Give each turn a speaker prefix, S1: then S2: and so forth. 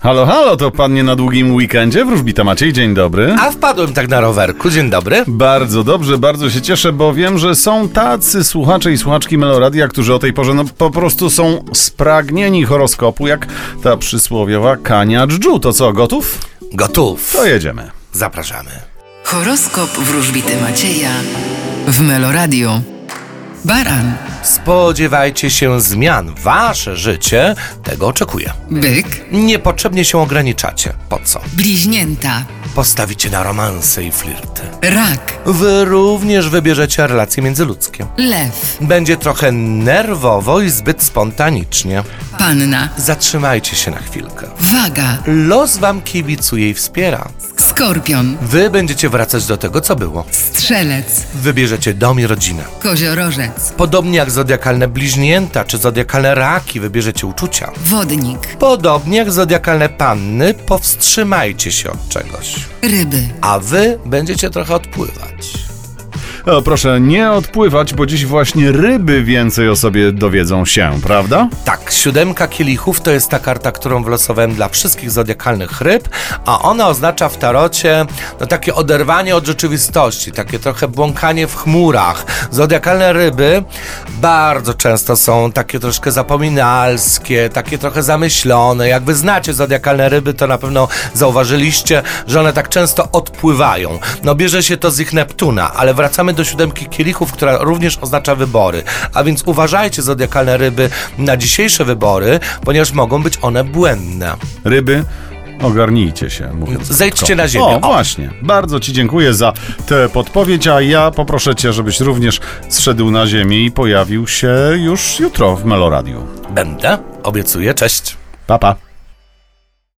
S1: Halo, halo, to pan nie na długim weekendzie? Wróżbita Maciej, dzień dobry.
S2: A wpadłem tak na rowerku. Dzień dobry.
S1: Bardzo dobrze, bardzo się cieszę, bo wiem, że są tacy słuchacze i słuchaczki Meloradia, którzy o tej porze no, po prostu są spragnieni horoskopu, jak ta przysłowiowa Kania Dżdżu. To co, gotów?
S2: Gotów.
S1: To jedziemy.
S2: Zapraszamy.
S3: Horoskop wróżbity Macieja w Meloradio. Baran,
S2: Spodziewajcie się zmian. Wasze życie tego oczekuje.
S3: byk,
S2: Niepotrzebnie się ograniczacie. Po co?
S3: bliźnięta,
S2: Postawicie na romanse i flirty.
S3: rak,
S2: Wy również wybierzecie relacje międzyludzkie.
S3: lew,
S2: Będzie trochę nerwowo i zbyt spontanicznie.
S3: panna,
S2: Zatrzymajcie się na chwilkę.
S3: waga,
S2: Los wam kibicuje i wspiera.
S3: skorpion,
S2: Wy będziecie wracać do tego, co było.
S3: strzelec,
S2: Wybierzecie dom i rodzinę.
S3: koziorożec,
S2: Podobnie jak zodiakalne bliźnięta czy zodiakalne raki wybierzecie uczucia.
S3: wodnik,
S2: Podobnie jak zodiakalne panny, powstrzymajcie się od czegoś.
S3: ryby.
S2: A wy będziecie trochę odpływać.
S1: O, proszę nie odpływać, bo dziś właśnie ryby więcej o sobie dowiedzą się, prawda?
S2: Tak, siódemka kielichów to jest ta karta, którą wylosowałem dla wszystkich zodiakalnych ryb, a ona oznacza w tarocie no, takie oderwanie od rzeczywistości, takie trochę błąkanie w chmurach. Zodiakalne ryby bardzo często są takie troszkę zapominalskie, takie trochę zamyślone. Jak wy znacie zodiakalne ryby, to na pewno zauważyliście, że one tak często odpływają. No bierze się to z ich Neptuna, ale wracamy do siódemki kielichów, która również oznacza wybory. A więc uważajcie zodiakalne ryby na dzisiejsze wybory, ponieważ mogą być one błędne.
S1: Ryby, ogarnijcie się. Mówiąc
S2: Zejdźcie
S1: krótko.
S2: na ziemię.
S1: O,
S2: O.
S1: właśnie. Bardzo Ci dziękuję za tę podpowiedź, a ja poproszę Cię, żebyś również zszedł na ziemię i pojawił się już jutro w Meloradiu.
S2: Będę, obiecuję, cześć.
S1: Pa, pa.